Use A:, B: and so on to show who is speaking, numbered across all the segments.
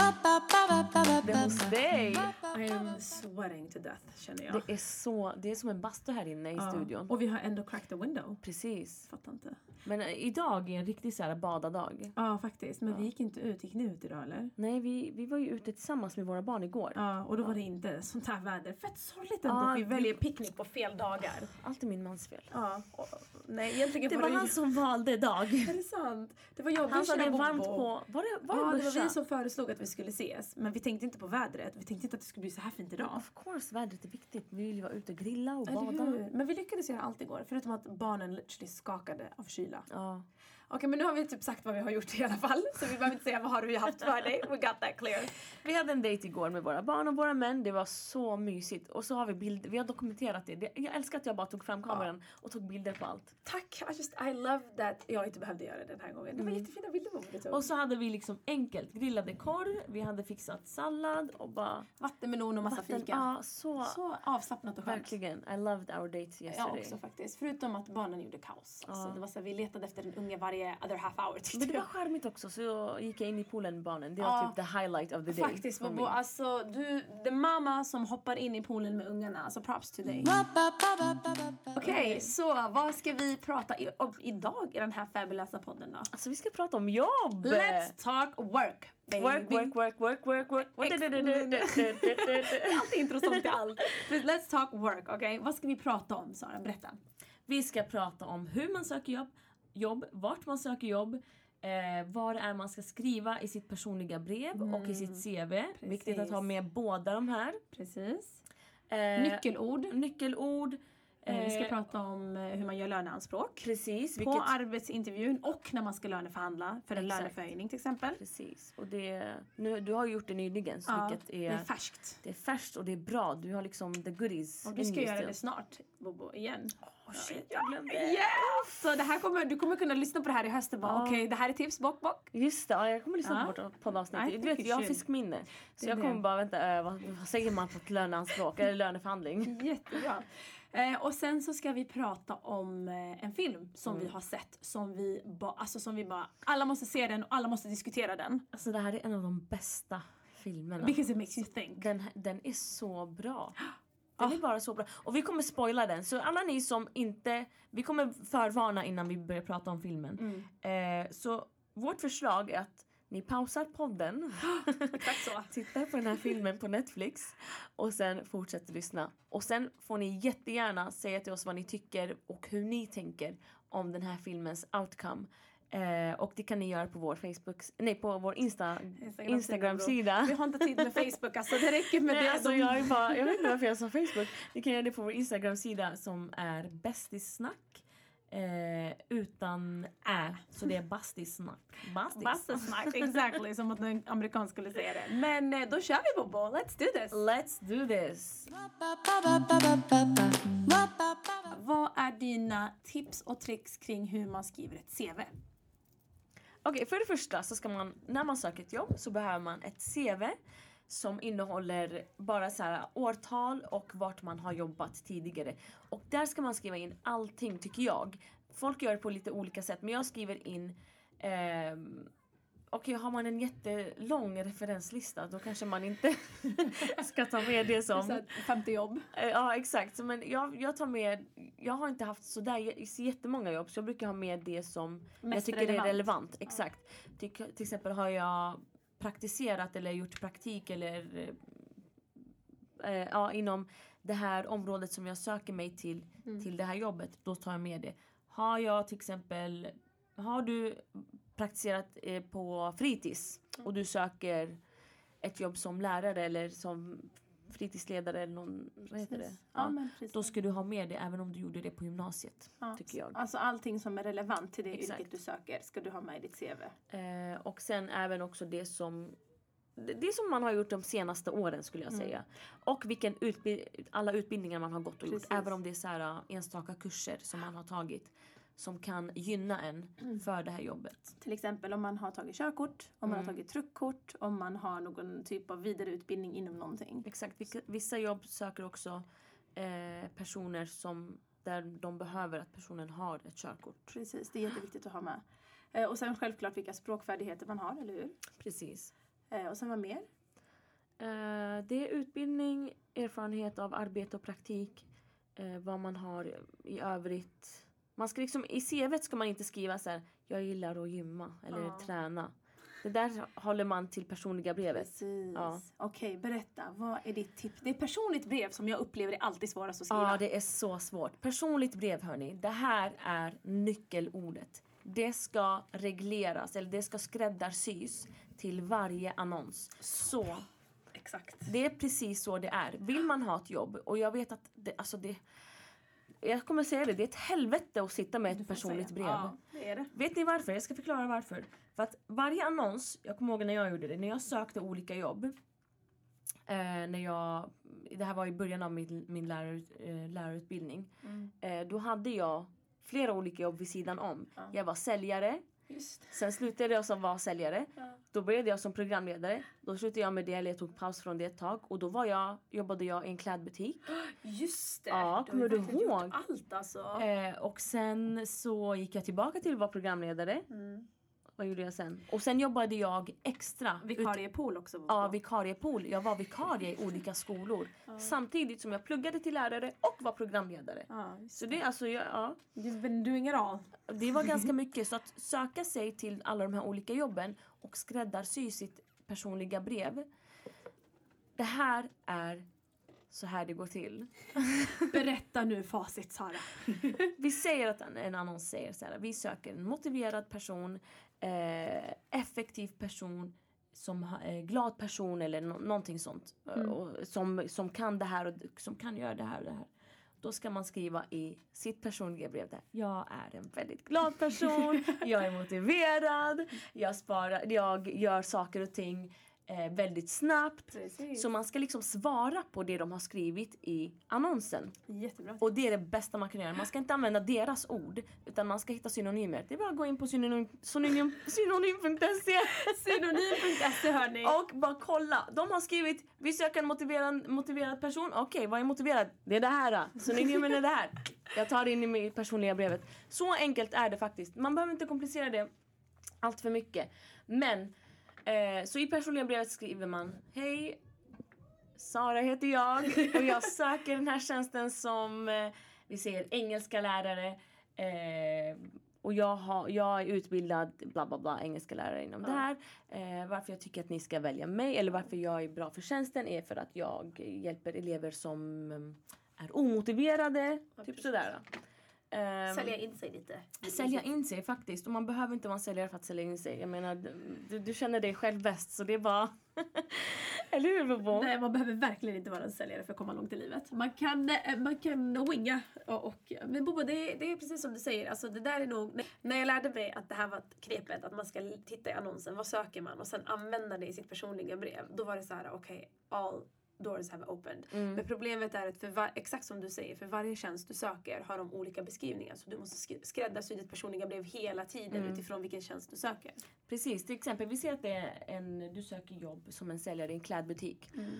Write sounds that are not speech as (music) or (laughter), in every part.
A: Det är hos dig.
B: I am sweating to death känner jag.
A: Det är, så, det är som en bastu här inne i
B: Ja.
A: studion.
B: Och vi har ändå cracked the window.
A: Precis.
B: Fattar inte.
A: Men eh, idag är en riktig så här badadag.
B: Ja faktiskt, men vi gick inte ut. Gick ni ut idag eller?
A: Nej, vi, vi var ju ute tillsammans med våra barn igår.
B: Ja, och då var det inte sånt här väder. Fett sorgligt ändå
A: Ja,
B: att vi
A: Ah, det-
B: väljer picknick på fel dagar.
A: Allt är min mans fel.
B: Ja. och- Nej egentligen
A: Det var han som valde dag.
B: (laughs) Är det sant? Det var jag och
A: Han sa
B: Birsa
A: det
B: bodde
A: varmt på... Var det, var det,
B: Ja, det var
A: Börsa?
B: vi som föreslog att vi skulle ses. Men vi tänkte inte på vädret. Vi tänkte inte att det skulle bli så här fint idag.
A: Of course, vädret är viktigt. Vi vill ju vara ute och grilla och
B: Eller
A: bada.
B: hur? Men vi lyckades göra allt igår. Förutom att barnen literally skakade av kyla.
A: Ja.
B: Okej men nu har vi typ sagt vad vi har gjort i alla fall. Så vi behöver inte säga vad har vi haft för dig. We got that clear.
A: Vi hade en dejt igår med våra barn och våra män. Det var så mysigt. Och så har vi bild, vi har dokumenterat det. det. Jag älskar att jag bara tog fram kameran och tog bilder på allt.
B: Tack! I, just, I love that jag inte behövde göra det den här gången. Det var jättefina bilder på mig. typ.
A: Och så hade vi liksom enkelt grillade korv, vi hade fixat sallad och bara...
B: vattenmelon och massa Alltså, fika.
A: Ja, så,
B: Så avslappnat och skönt.
A: verkligen. I loved our date
B: Jag
A: yesterday.
B: också faktiskt. Förutom att barnen gjorde kaos. Alltså, det var så här, vi letade efter den unge varje other half hour tyckte
A: Men det var
B: jag.
A: charmigt också så gick jag in i poolen med barnen. Det var
B: Ja.
A: typ the highlight of the day.
B: Faktiskt
A: för
B: Bobo,
A: mig.
B: alltså du, the mamma som hoppar in i poolen med ungarna, alltså props to dig. Okej, så vad ska vi prata i, om idag i den här fabulösa podden då?
A: Alltså vi ska prata om jobb!
B: Let's talk work baby!
A: Work, work, work, work, work, work.
B: Det är alltid intressant i (laughs) allt. (laughs) But Let's talk work, okej? Vad ska vi prata om Sara? Berätta.
A: (laughs) Vi ska prata om hur man söker jobb, jobb vart man söker jobb, eh, vad det är man ska skriva i sitt personliga brev och i
B: Mm.
A: sitt CV. Viktigt att ha med båda de här.
B: Precis.
A: Eh,
B: Nyckelord.
A: nyckelord.
B: Eh, Vi ska
A: eh,
B: prata om eh, hur man gör löneanspråk.
A: Precis.
B: På arbetsintervjun och när man ska löneförhandla för en
A: Exakt.
B: löneförhöjning till exempel.
A: precis. Och det, nu, du har ju gjort det nyligen, så
B: Ja,
A: vilket
B: det
A: är,
B: är färskt.
A: det är färskt och det är bra. Du har liksom the goodies.
B: Och du
A: in
B: ska
A: you
B: göra
A: still.
B: det snart, Bobo, igen.
A: Åh, shit, jag glömde.
B: Yeah! Så det här kommer, du kommer kunna lyssna på det här i höst och bara
A: Ja.
B: okej, det här är tips, bock, bock.
A: Just det, ja, jag kommer lyssna
B: Ja.
A: på vårt poddavsnitt.
B: I
A: Du
B: think
A: vet,
B: you
A: jag har
B: should.
A: fiskminne. Så
B: är
A: jag
B: det.
A: kommer bara vänta, eh, vad, vad säger man på ett löneanspråk eller löneförhandling?
B: Jättebra. Eh, och sen så ska vi prata om eh, en film som
A: Mm.
B: vi har sett som vi, ba, alltså som vi bara, alla måste se den och alla måste diskutera den.
A: Alltså det här är en av de bästa filmerna.
B: Because it makes you think.
A: Den, den är så bra. Den är bara så bra. Och vi kommer spoila den. Så alla ni som inte... Vi kommer förvarna innan vi börjar prata om filmen. Eh, så vårt förslag är att ni pausar podden. (laughs)
B: Exakt så.
A: tittar på den här filmen på Netflix och sen fortsätter lyssna. Och sen får ni jättegärna säga till oss vad ni tycker och hur ni tänker om den här filmens outcome. Eh, och det kan ni göra på vår Facebook, nej på vår Insta,
B: Instagram-sida,
A: Instagram-sida.
B: Vi har inte tid med Facebook alltså, det räcker med
A: Nej,
B: det.
A: alltså
B: de-
A: jag, är bara, jag vet inte varför jag sa Facebook. Ni kan göra det på vår Instagram-sida som är bästissnack. Eh, utan ä. Så det är bastisnack. Bastis.
B: Vassesnack, exactly, som att en amerikan skulle säga det. Men eh, då kör vi Bobo, let's do this!
A: Let's do this!
B: Vad är dina tips och tricks kring hur man skriver ett CV?
A: Okej, för det första så ska man, när man söker ett jobb så behöver man ett CV som innehåller bara så här årtal och vart man har jobbat tidigare. Och där ska man skriva in allting tycker jag. Folk gör det på lite olika sätt men jag skriver in ehm, Okej, har man en jättelång referenslista då kanske man inte (laughs) ska ta med det som...
B: Så att, femte jobb.
A: Eh, Ja exakt, Så, men jag, jag tar med, jag har inte haft sådär j- så jättemånga jobb så jag brukar ha med det som jag
B: Mest
A: tycker
B: relevant.
A: är relevant. Exakt. Till, till exempel har jag praktiserat eller gjort praktik eller eh, eh, ja, inom det här området som jag söker mig till,
B: Mm.
A: till det här jobbet, då tar jag med det. Har jag till exempel, har du praktiserat eh, på fritids och du söker ett jobb som lärare eller som fritidsledare eller någon, vad heter det?
B: Ja, men precis.
A: Då ska du ha med det även om du gjorde det på gymnasiet,
B: Ja.
A: tycker jag.
B: Alltså allting som är relevant till det
A: Exakt.
B: yrket du söker ska du ha med i ditt CV.
A: Eh, och sen även också det som det det som man har gjort de senaste åren skulle jag säga. Och vilken utbi- alla utbildningar man har gått och gjort.
B: Precis.
A: Även om det är så här eh, enstaka kurser som man har tagit. Som kan gynna en för det här jobbet.
B: Till exempel om man har tagit körkort, om man
A: Mm.
B: har tagit truckkort, om man har någon typ av vidareutbildning inom någonting.
A: Exakt, vilka- vissa jobb söker också eh, personer som där de behöver att personen har ett körkort.
B: Precis, det är jätteviktigt att ha med. Eh, och sen självklart vilka språkfärdigheter man har, eller hur?
A: Precis.
B: Eh, och sen vad mer?
A: Eh, det är utbildning, erfarenhet av arbete och praktik. eh, vad man har i övrigt. Man ska liksom, I CVt ska man inte skriva så här, jag gillar att gymma eller
B: Ja.
A: träna. Det där håller man till personliga brevet.
B: Precis.
A: Ja.
B: Okej, berätta. Vad är ditt tips? Det är ett personligt brev som jag upplever är alltid svårast att skriva.
A: Ja, det är så svårt. Personligt brev, hörni. Det här är nyckelordet. Det ska regleras, eller det ska skräddarsys till varje annons. Så
B: Exakt.
A: Det är precis så det är. Vill man ha ett jobb, och jag vet att det, alltså det... Jag kommer säga det, det är ett helvete att sitta med ett personligt brev.
B: Ja, det är det.
A: Vet ni varför? Jag ska förklara varför. För att varje annons, jag kommer ihåg när jag gjorde det, när jag sökte olika jobb. Eh, när jag, det här var i början av min, min lärar, eh, lärarutbildning.
B: Mm.
A: Eh, då hade jag flera olika jobb vid sidan om.
B: Ja.
A: Jag var säljare,
B: Just.
A: sen slutade jag som var säljare.
B: Ja.
A: Då började jag som programledare. Då slutade jag med det, eller jag tog paus från det ett tag. Och då var jag, jobbade jag i en klädbutik.
B: Just det.
A: Ja,
B: har
A: kommer
B: ju
A: du
B: verkligen gjort
A: ihåg?
B: Allt alltså.
A: Eh, och sen så gick jag tillbaka till att vara programledare.
B: Mm.
A: Vad gjorde jag sen? Och sen jobbade jag extra.
B: Vikariepool också. var
A: Ja,
B: på.
A: vikariepool. Jag var vikarie i olika skolor. Samtidigt som jag pluggade till lärare och var programledare.
B: ja, just
A: Så det, är alltså, jag, ja,
B: Du men du är ingen av.
A: det var ganska mycket. Så att söka sig till alla de här olika jobben och skräddarsy sitt personliga brev. Det här är så här det går till.
B: Berätta nu facit Sara.
A: Vi säger att en- en annons säger så här. Vi söker en motiverad person, eh, effektiv person, som ha- eh, glad person eller nå- någonting sånt. Eh, Och, som, som kan det här och d- som kan göra det här och det här. Då ska man skriva i sitt personliga brev där. Jag är en väldigt glad person. Jag är motiverad. Jag, sparar, jag gör saker och ting eh, väldigt snabbt.
B: Precis.
A: Så man ska liksom svara på det de har skrivit i annonsen.
B: Jättebra.
A: Och det är det bästa man kan göra. Man ska inte använda deras ord utan man ska hitta synonymer. Det är bara att gå in på synonym, synonym, synonym.se
B: Synonym.se E, hörni.
A: och bara kolla. De har skrivit vi söker en motiverad, motiverad person. Okej, vad är motiverad? Det är det här. då. Synonymen är det här. Jag tar det in i mitt personliga brevet. Så enkelt är det faktiskt. Man behöver inte komplicera det allt för mycket. Men eh, så i personliga brevet skriver man Hej Sara heter jag och jag söker den här tjänsten som eh, vi säger engelska lärare. Eh, och jag, har, jag är utbildad bla bla bla engelska lärare inom det här. Eh, varför jag tycker att ni ska välja mig eller varför jag är bra för tjänsten är för att jag hjälper elever som eh, är omotiverade.
B: Ja,
A: typ
B: precis.
A: sådär. Eh,
B: Sälja in sig lite.
A: Sälja in sig faktiskt. Och man behöver inte vara en säljare för att sälja in sig. Jag menar, du, du känner dig själv bäst så det är bara... (laughs) Eller hur Bobo?
B: Nej, man behöver verkligen inte vara en säljare för att komma långt i livet. Man kan, eh, man kan winga. Och, och, men Bobo, det, är- det är precis som du säger. Alltså, det där är nog, när jag lärde mig att det här var ett knepet, att man ska titta i annonsen, vad söker man? Och sen använda det i sitt personliga brev. Då var det så här, okej, all doors have opened.
A: Mm.
B: Men problemet är att för var, exakt som du säger, för varje tjänst du söker har de olika beskrivningar. Så du måste sk- skräddarsy ditt personliga brev hela tiden utifrån vilken tjänst du söker.
A: Precis, till exempel vi ser att det är en, du söker jobb som en säljare i en klädbutik.
B: Mm,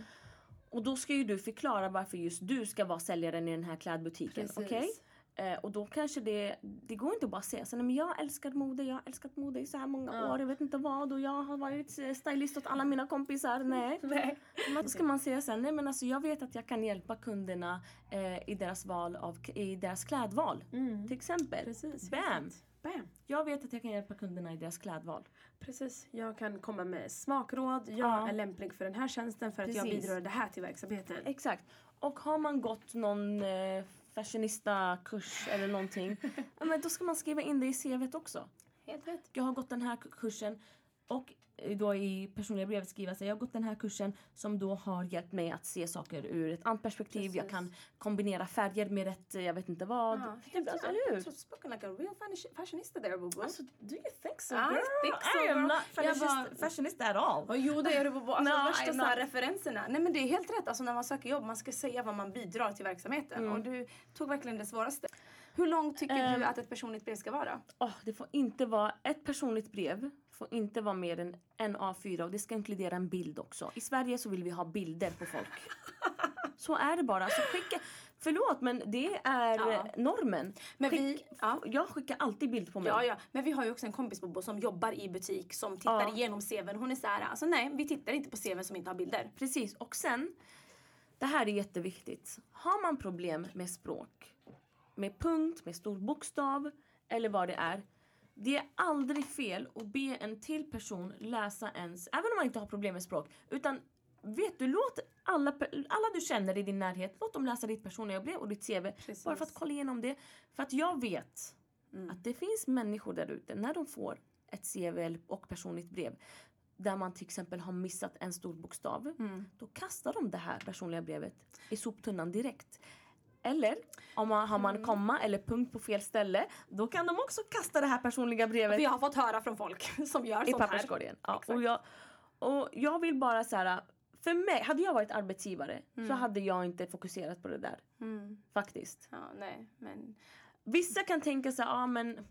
A: Och då ska ju du förklara varför just du ska vara säljaren i den här klädbutiken. Okej? Eh, och då kanske det, det går inte att bara säga så "Nej, men jag älskar mode, jag har älskat mode i så här många
B: Ja.
A: år, jag vet inte vad och jag har varit eh, stylist åt alla mina kompisar.
B: Mm. (laughs)
A: Nej.
B: Nej.
A: Men Då ska man säga sen, nej men alltså jag vet att jag kan hjälpa kunderna eh, i, deras val av, i deras klädval.
B: Mm.
A: Till exempel.
B: Precis.
A: Bam!
B: Bam.
A: Jag vet att jag kan hjälpa kunderna i deras klädval.
B: Precis, jag kan komma med smakråd. Jag
A: Ja.
B: är lämplig för den här tjänsten för att jag
A: Precis.
B: bidrar det här till verksamheten.
A: Exakt. Och har man gått någon eh, fashionista-kurs eller
B: (laughs)
A: någonting, ja, men då ska man skriva in det i CVt också.
B: Helt rätt.
A: Jag har gått den här k- kursen och eh, då i personliga brevet skriva sig. Jag har gått den här kursen som då har hjälpt mig att se saker ur ett annat perspektiv. Jag
B: Precis.
A: kan kombinera färger med rätt, eh, jag vet inte vad. typ, alltså, eller hur?
B: spoken like a real fashion- fashionista there, Bobo.
A: Alltså, do you think so
B: I
A: girl?
B: think so,
A: Ah, I am
B: girl.
A: not
B: Jag bara-
A: fashionist, fashionista at all.
B: Ja, jo, det är du Bobo. Alltså,
A: No,
B: värsta
A: I'm
B: så här
A: not.
B: referenserna. Nej, men det är helt rätt. Alltså, när man söker jobb, man ska säga vad man bidrar till verksamheten. Och du tog verkligen det svåraste. Hur långt tycker
A: Mm. Ehm.
B: du att ett personligt brev ska vara?
A: Åh, det får inte vara ett personligt brev. får inte vara mer än en A4 och det ska inkludera
B: (laughs)
A: en bild också. I Sverige så vill vi ha bilder på folk. Så är det bara. Alltså, skicka, Förlåt men det är
C: Ja.
A: normen.
B: Men
A: Skick,
B: vi, ja.
A: Jag skickar alltid bild på mig.
B: Ja, ja. Men vi har ju också en kompis Bobo som jobbar i butik som tittar
A: Ja.
B: igenom CVn. Hon är så här, alltså nej, vi tittar inte på CVn som inte har bilder.
A: Precis och sen, det här är jätteviktigt. Har man problem med språk, med punkt, med stor bokstav eller vad det är. Det är aldrig fel att be en till person läsa ens, även om man inte har problem med språk. Utan vet du, låt alla, pe- alla du känner i din närhet, låt dem läsa ditt personliga brev och ditt CV.
B: Precis.
A: Bara för att kolla igenom det. För att jag vet
B: Mm.
A: att det finns människor där ute när de får ett CV eller- och personligt brev där man till exempel har missat en stor bokstav.
B: Mm.
A: Då kastar de det här personliga brevet i soptunnan direkt. Eller om man, har
B: Mm.
A: man komma eller punkt på fel ställe då kan de också kasta det här personliga brevet
B: Vi har fått höra från folk (laughs) som gör
A: i
B: sånt här.
A: papperskorgen. Ja,
B: Exakt.
A: och, jag, och jag vill bara så här. För mig, hade jag varit arbetsgivare så hade jag inte fokuserat på det där.
B: Mm.
A: Faktiskt.
B: Ja, nej, men
A: Vissa kan tänka sig, ja men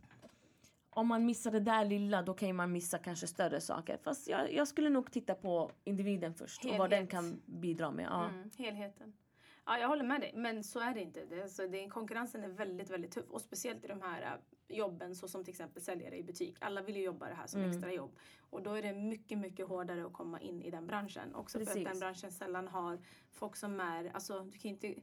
A: om man missar det där lilla då kan ju man missa kanske större saker. Fast jag, jag skulle nog titta på individen först och vad den
B: Helhet.
A: kan bidra med. Ja.
B: Mm, helheten. Ja, jag håller med dig. Men så är det inte. Det, alltså, det, konkurrensen är väldigt, väldigt tuff. Och speciellt i de här eh, jobben så som till exempel säljare i butik. Alla vill ju jobba det här som
A: Mm.
B: extra jobb. Och då är det mycket, mycket hårdare att komma in i den branschen. Också för
A: Precis.
B: att den branschen sällan har folk som är, alltså du kan ju inte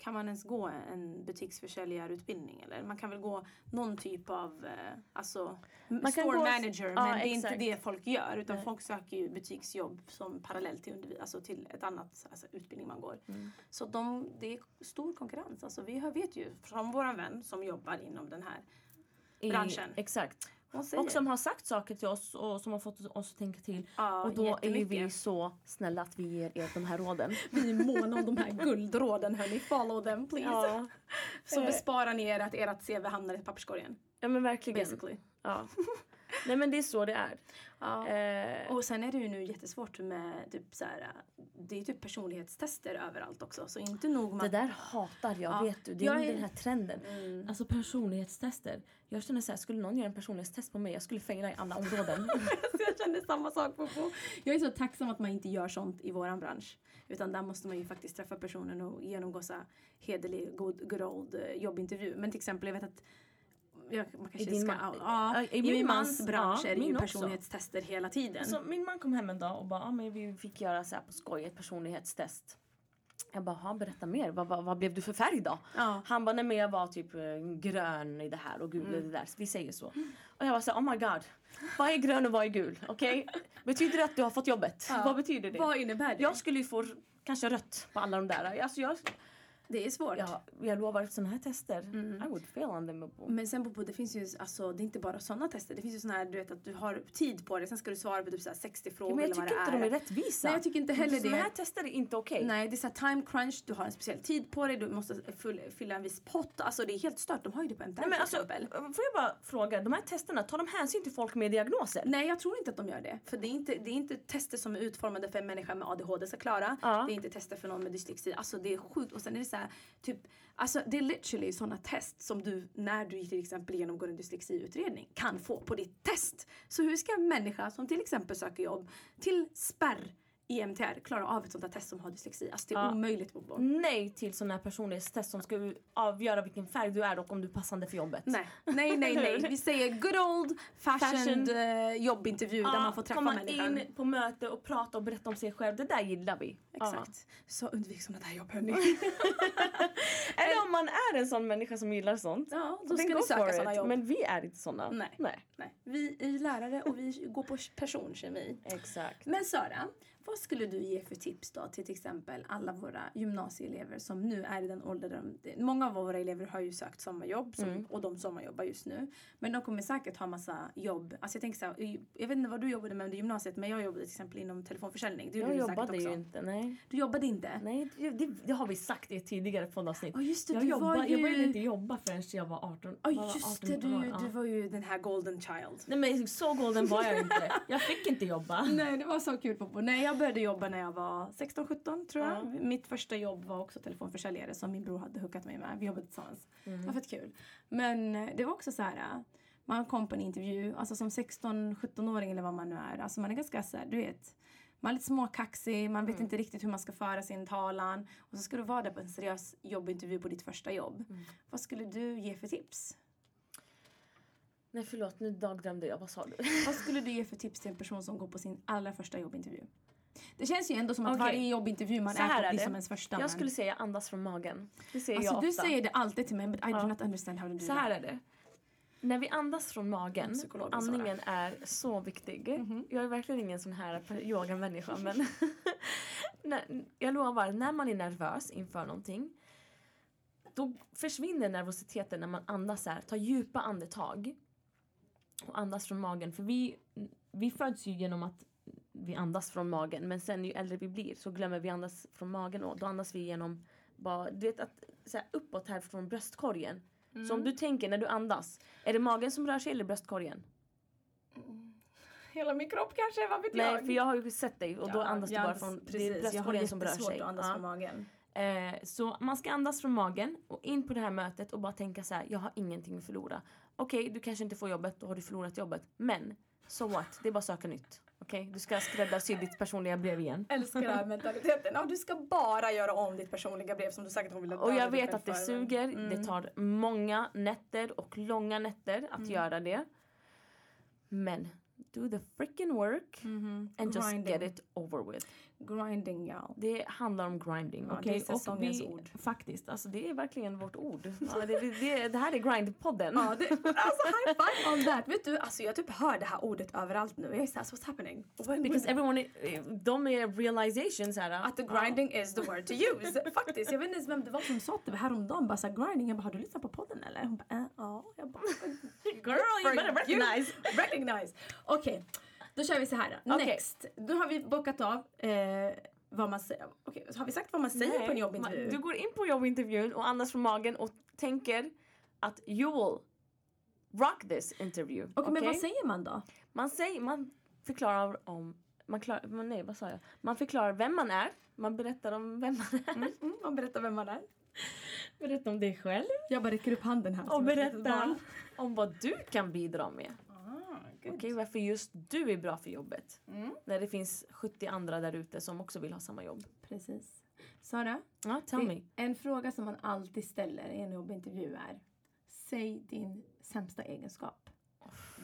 B: kan man ens gå en butiksförsäljarutbildning? Eller man kan väl gå någon typ av eh, alltså,
A: kan
B: store
A: gå-
B: manager
A: Ja,
B: men det är inte
A: exakt.
B: det folk gör utan
A: Nej.
B: folk söker ju butiksjobb som parallellt till, undervi- alltså till ett annat alltså, utbildning man går. Så de, det är stor konkurrens. Alltså, vi hör- vet ju från vår vän som jobbar inom den här.
A: I-
B: Branschen.
A: Exakt.
B: Hon säger,
A: Och som har sagt saker till oss och som har fått oss att tänka till.
B: ja,
A: och då är ju
B: jättemycket.
A: vi så snälla att vi ger er de här
B: (laughs)
A: råden.
B: Vi är måna om de (laughs) här guldråden hörni. Follow them please.
A: Ja,
B: Så besparar ni er att ert CV hamnar i papperskorgen.
A: ja men verkligen.
B: Basically.
A: Ja. Nej men det är så det är.
B: Ja.
A: Eh,
B: Och sen är det ju nu jättesvårt med typ så här, det är typ personlighetstester överallt också. Så inte nog
A: det
B: med...
A: där hatar jag,
B: Ja.
A: vet du. Det är,
B: Jag
A: ju
B: är-
A: den här trenden.
B: Mm.
A: Alltså personlighetstester. Jag känner så här, skulle någon göra en personlighetstest på mig, jag skulle fejla i alla
B: (laughs)
A: områden.
B: Så jag känner samma sak Bobo. Jag är så tacksam att man inte gör sånt i våran bransch. Utan där måste man ju faktiskt träffa personen och genomgå så här hederlig, good, good old eh, jobbintervju. Men till exempel, jag vet att jag, man kanske
A: din
B: ska...
A: man-
B: ja,
A: i
B: i
A: min
B: min mans
A: mans-
B: bransch
A: ja,
B: är det
A: min
B: ju
A: också. Alltså,
B: personlighetstester hela tiden.
A: Så min man kom hem en dag och bara, ah, men vi fick göra så här på skoj ett personlighetstest. Jag bara, "Ha, berätta mer. Vad, vad, vad blev du för färg då?
B: ja.
A: Han bara, nej men jag var typ eh, grön i det här och gul i det där. Så Vi säger så. Och jag var så här, oh my god. Vad är grön och vad är gul? Okej? Betyder det att du har fått jobbet?
B: Ja.
A: Vad betyder det?
B: Vad innebär det?
A: Jag skulle ju få kanske rött på alla de där. Alltså jag,
B: Det är svårt.
A: jag, jag lovar, sådana här tester, I would fail on them.
B: Men sen Bobo, det finns ju alltså, det är inte bara sådana tester. Det finns ju sådana här, du vet att du har tid på dig. Sen ska du svara på typ så här 60 frågor
A: Ja, men jag
B: eller vad
A: tycker inte
B: det är.
A: de är rättvisa. Alltså,
B: Nej, jag tycker inte heller
A: Såna
B: det.
A: här tester är inte okej.
B: Nej, det är så här time crunch, du har en speciell tid på dig, du måste full, fylla en viss pott. Alltså det är helt stört, de har ju det på MTR
A: Nej, men
B: till
A: alltså,
B: exempel.
A: får jag bara fråga, de här testerna, tar de hänsyn till folk med diagnoser?
B: Nej, jag tror inte att de gör det. För det är inte, det är inte tester som är utformade för en människa med ADHD ska klara.
A: Ja.
B: Det är inte tester för någon med dyslexi. Alltså det är sjukt. Och sen är det så här, typ, alltså det är literally sådana test som du, när du till exempel genomgår en dyslexiutredning, kan få på ditt test. Så hur ska en människa som till exempel söker jobb till spärr E i MTR klara av ett sånt här test som har dyslexi? Alltså det är
A: Ja. Mm.
B: omöjligt Bobo.
A: Nej till sådana här personlighetstest som ska avgöra vilken färg du är och om du är passande för jobbet.
B: Nej, nej, nej. nej. Vi säger good old fashioned
A: Fashion.
B: eh, jobbintervju
A: Ja,
B: där man får träffa
A: Ah, komma
B: människan.
A: in på möte och prata och berätta om sig själv. Det där gillar vi.
B: Exakt. Så undvik sådana där jobb
A: (laughs)
B: hörni.
A: Ja. Eller om man är en sån människa som gillar sånt.
B: ja, då
A: then
B: ska
A: go
B: ni
A: for
B: söka
A: it.
B: sådana jobb.
A: Men vi är inte såna.
B: Nej. Nej. Vi är lärare och vi går på personkemi.
A: Exakt.
B: Men Sara, vad skulle du ge för tips då till till exempel alla våra gymnasieelever som nu är i den ålder de... det- Många av våra elever har ju sökt sommarjobb som,
A: Mm.
B: och de sommarjobbar just nu. Men de kommer säkert ha massa jobb. Alltså jag tänker så här, i- jag vet inte vad du jobbade med under gymnasiet men jag jobbade till exempel inom telefonförsäljning. Det gjorde
A: Jag
B: du säkert
A: jobbade ju
B: också.
A: inte. Nej,
B: Du jobbade inte?
A: nej det, det, det har vi sagt i ett tidigare poddavsnitt.
B: Ja just det,
A: jag,
B: du
A: jobba,
B: var
A: jag började
B: ju...
A: inte jobba förrän jag var 18.
B: Ja
A: var
B: just
A: 18
B: det, du,
A: år, ja.
B: du var ju den här golden child.
A: Nej men så golden var jag inte. (laughs) Jag fick inte jobba.
B: Nej, det var så kul Popo. Nej, jag började jobba när jag var 16-17 tror jag. Mitt första jobb var också telefonförsäljare som min bror hade hookat mig med. Vi jobbade tillsammans.
A: Mm.
B: Det var fett kul. Men eh, det var också så här. eh, Man kom på en intervju, alltså som 16-17-åring eller vad man nu är. Alltså man är ganska så här, du vet. man är lite småkaxig, man vet
A: Mm.
B: inte riktigt hur man ska föra sin talan. Och så ska du vara där på en seriös jobbintervju på ditt första jobb.
A: Mm.
B: Vad skulle du ge för tips?
A: Nej förlåt, nu dagdrömde jag. Vad sa du?
B: Vad skulle du ge för tips till en person som går på sin allra första jobbintervju? Det känns ju ändå som att
A: Okej.
B: varje jobbintervju man
A: Så här
B: är på
A: är
B: blir
A: det.
B: som ens första. men-
A: Jag skulle säga andas från magen. Det säger
B: alltså,
A: jag
B: du
A: ofta.
B: säger det alltid till mig but I
A: Ja.
B: do not understand how to do
A: Så här
B: that.
A: är det. När vi andas från magen,
B: Psykologen,
A: andningen är så viktig. Jag är verkligen ingen sån här per- yogamänniska men (laughs) när, jag lovar, när man är nervös inför någonting då försvinner nervositeten när man andas så här, tar djupa andetag och andas från magen. För vi, vi föds ju genom att vi andas från magen men sen ju äldre vi blir så glömmer vi andas från magen och då andas vi genom bara, du vet att så här, uppåt här från bröstkorgen. Så
B: Mm.
A: om du tänker när du andas, är det magen som rör sig eller bröstkorgen?
B: Mm.
C: Hela min kropp kanske, vad vet
A: Nej
C: jag?
A: för jag har ju sett dig och då
B: Ja,
A: andas du
B: jag
A: bara
B: andas-
A: från det är
B: precis, jag har
A: bröstkorgen som rör
B: jättesvårt
A: sig.
B: att andas
A: Ja.
B: från magen.
A: Eh, så man ska andas från magen och in på det här mötet och bara tänka så här, jag har ingenting att förlora. Okej, du kanske inte får jobbet, då har du förlorat jobbet. Men, so what? Det är bara att söka nytt. Okej, du ska skräddarsy ditt personliga brev igen.
B: Älskar den här mentaliteten. Ja, du ska bara göra om ditt personliga brev som du säkert har velat
A: Och
B: döda
A: jag
B: dig
A: vet
B: själv
A: att det
B: för, men-
A: suger. Det tar många nätter och långa nätter
B: Mm.
A: att göra det. Men, do the freaking work
B: Mhm.
A: and just
B: Grinding.
A: get it over with.
B: Grinding y'all.
A: Det handlar om grinding.
B: Ja,
A: okej?
B: det är säsongens
A: Och vi-
B: ord.
A: Faktiskt, alltså det är verkligen vårt ord. Ja, det, det, det här är grindpodden.
B: Ja, det, alltså high five on that. Vet du, alltså jag typ hör det här ordet överallt nu. Jag är såhär, what's happening? When,
A: Because everyone, i- de är realizations här. ah,
B: att the grinding is the word to use. Faktiskt, jag vet inte ens vem det var som sa det häromdagen. Bara såhär grinding. Jag bara, har du lyssnat på podden eller? Hon bara, äh, ja. Jag bara, (laughs)
A: Girl, you better recognize.
B: recognize. Okej, då kör vi så här. då.
A: Okej.
B: Next. Då har vi bockat av eh, vad man säger. Okej, har vi sagt vad man säger på en jobbintervju?
A: man- Du går in på jobbintervjun och andas från magen och tänker att you will rock this interview.
B: Okej, men
A: okej?
B: vad säger man då?
A: Man säger, man förklarar om, man, klar, men nej, vad sa jag? man förklarar vem man är, man berättar om vem man är. (laughs)
B: man berättar vem man är.
A: Berätta om dig själv.
B: Jag bara räcker upp handen här.
A: Och
B: som ett litet
A: berätta Ah,
B: barn.
A: om vad du kan bidra med.
C: good.
A: Okej, varför just du är bra för jobbet.
C: Mm.
A: När det finns 70 andra där ute som också vill ha samma jobb.
B: Precis. Sara,
A: Ja, tell me.
B: det- en fråga som man alltid ställer i en jobbintervju är Säg din sämsta egenskap.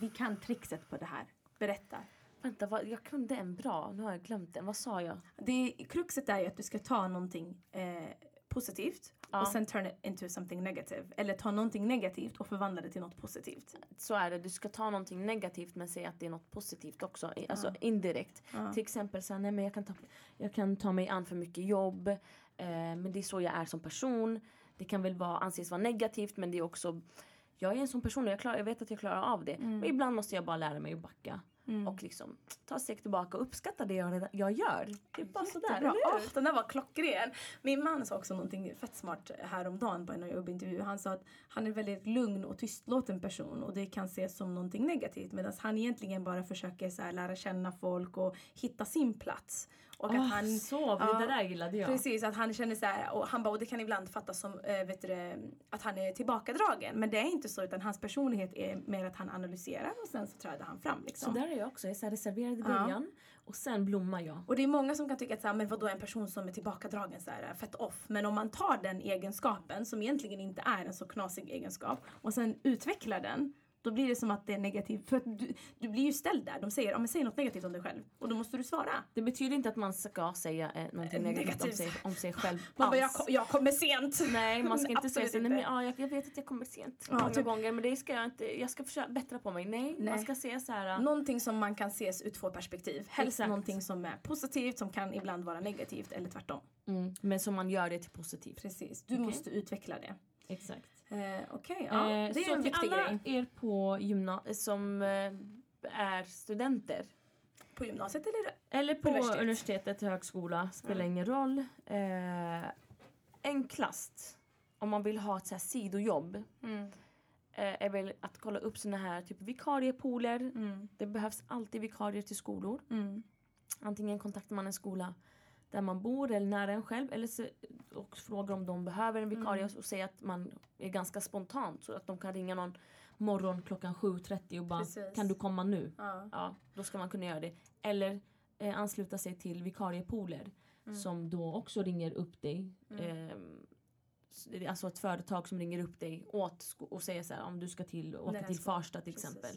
B: Vi kan trixet på det här. Berätta.
A: Vänta, vad, jag kunde en bra. Nu har jag glömt den. Vad sa jag?
B: Det, kruxet är ju att du ska ta någonting eh, positivt
A: Ja.
B: och sen turn it into something negative. Eller ta någonting negativt och förvandla det till något positivt.
A: Så är det, du ska ta någonting negativt men säga att det är något positivt också. I- Alltså indirekt. Till exempel så här, nej men jag kan, ta, jag kan ta mig an för mycket jobb. Eh, men det är så jag är som person. Det kan väl vara, anses vara negativt men det är också jag är en sån person och jag, klarar, jag vet att jag klarar av det. Men ibland måste jag bara lära mig att backa. Och liksom ta ett steg tillbaka och uppskatta det jag, redan- jag gör. Det är bara sådär,
B: Bra.
A: eller hur?
B: Åh, den där var klockren. Min man sa också någonting fett smart häromdagen på en jobbintervju. Han sa att han är en väldigt lugn och tystlåten person och det kan ses som någonting negativt medan han egentligen bara försöker så här lära känna folk och hitta sin plats. Och
A: Åh,
B: att han,
A: så, det
B: Ja,
A: där gillade jag.
B: Precis, att han känner så här, och han bara, och det kan ibland fattas som eh, vet du, det, att han är tillbakadragen. Men det är inte så utan hans personlighet är mer att han analyserar och sen så träder han fram liksom.
A: Så där är jag också. Jag är så här reserverad i
B: Ja.
A: början och sen blommar jag.
B: Och det är många som kan tycka att så här, men vadå en person som är tillbakadragen så här, äh, fett off. Men om man tar den egenskapen som egentligen inte är en så knasig egenskap och sen utvecklar den då blir det som att det är negativt. För att du, du blir ju ställd där. De säger ja, men säg något negativt om dig själv och då måste du svara.
A: Det betyder inte att man ska säga eh, någonting negativt, om,
B: negativt.
A: sig, om sig själv (laughs)
B: Man bara,
A: alls.
B: jag, kom, jag kommer (laughs) sent!
A: Nej, man ska inte säga
B: Absolut
A: så, nej,
B: inte.
A: men, ja, jag, jag vet att jag kommer sent
B: Ja,
A: många
B: typ.
A: gånger men det ska jag inte, jag ska försöka bättra på mig. Nej, man
B: Nej.
A: ska säga så här.
B: Någonting som man kan ses ur två perspektiv. Helst
A: Exakt.
B: någonting som är positivt som kan ibland vara negativt eller tvärtom.
A: Mm, men som man gör det till positivt.
B: Precis, du måste utveckla det.
A: Exakt.
B: Eh, Okej, ja.
A: Eh,
B: det
A: så
B: är en
A: till
B: viktig
A: alla
B: grej.
A: er på gymnasiet som eh, är studenter
B: På gymnasiet eller?
A: eller på
B: Universitet.
A: universitetet, högskola, spelar ingen roll. Eh, enklast om man vill ha ett så här sidojobb
B: Mm.
A: eh, är väl att kolla upp såna här typ vikariepooler.
B: Mm.
A: Det behövs alltid vikarier till skolor.
B: Mm.
A: Antingen kontaktar man en skola där man bor eller nära en själv eller så, och frågar om de behöver en vikarie och säger att man är ganska spontant så att de kan ringa någon morgon klockan 7.30 och bara
B: Precis.
A: kan du komma nu?
B: Ja.
A: Ja, då ska man kunna göra det. Eller eh, ansluta sig till vikariepooler
C: Mm.
A: som då också ringer upp dig.
C: Mm.
A: Ehm, s- det är alltså ett företag som ringer upp dig åt sko- och säger så här, om du ska till, åka
B: här
A: till
B: skolan,
A: Farsta till
B: precis.
A: exempel.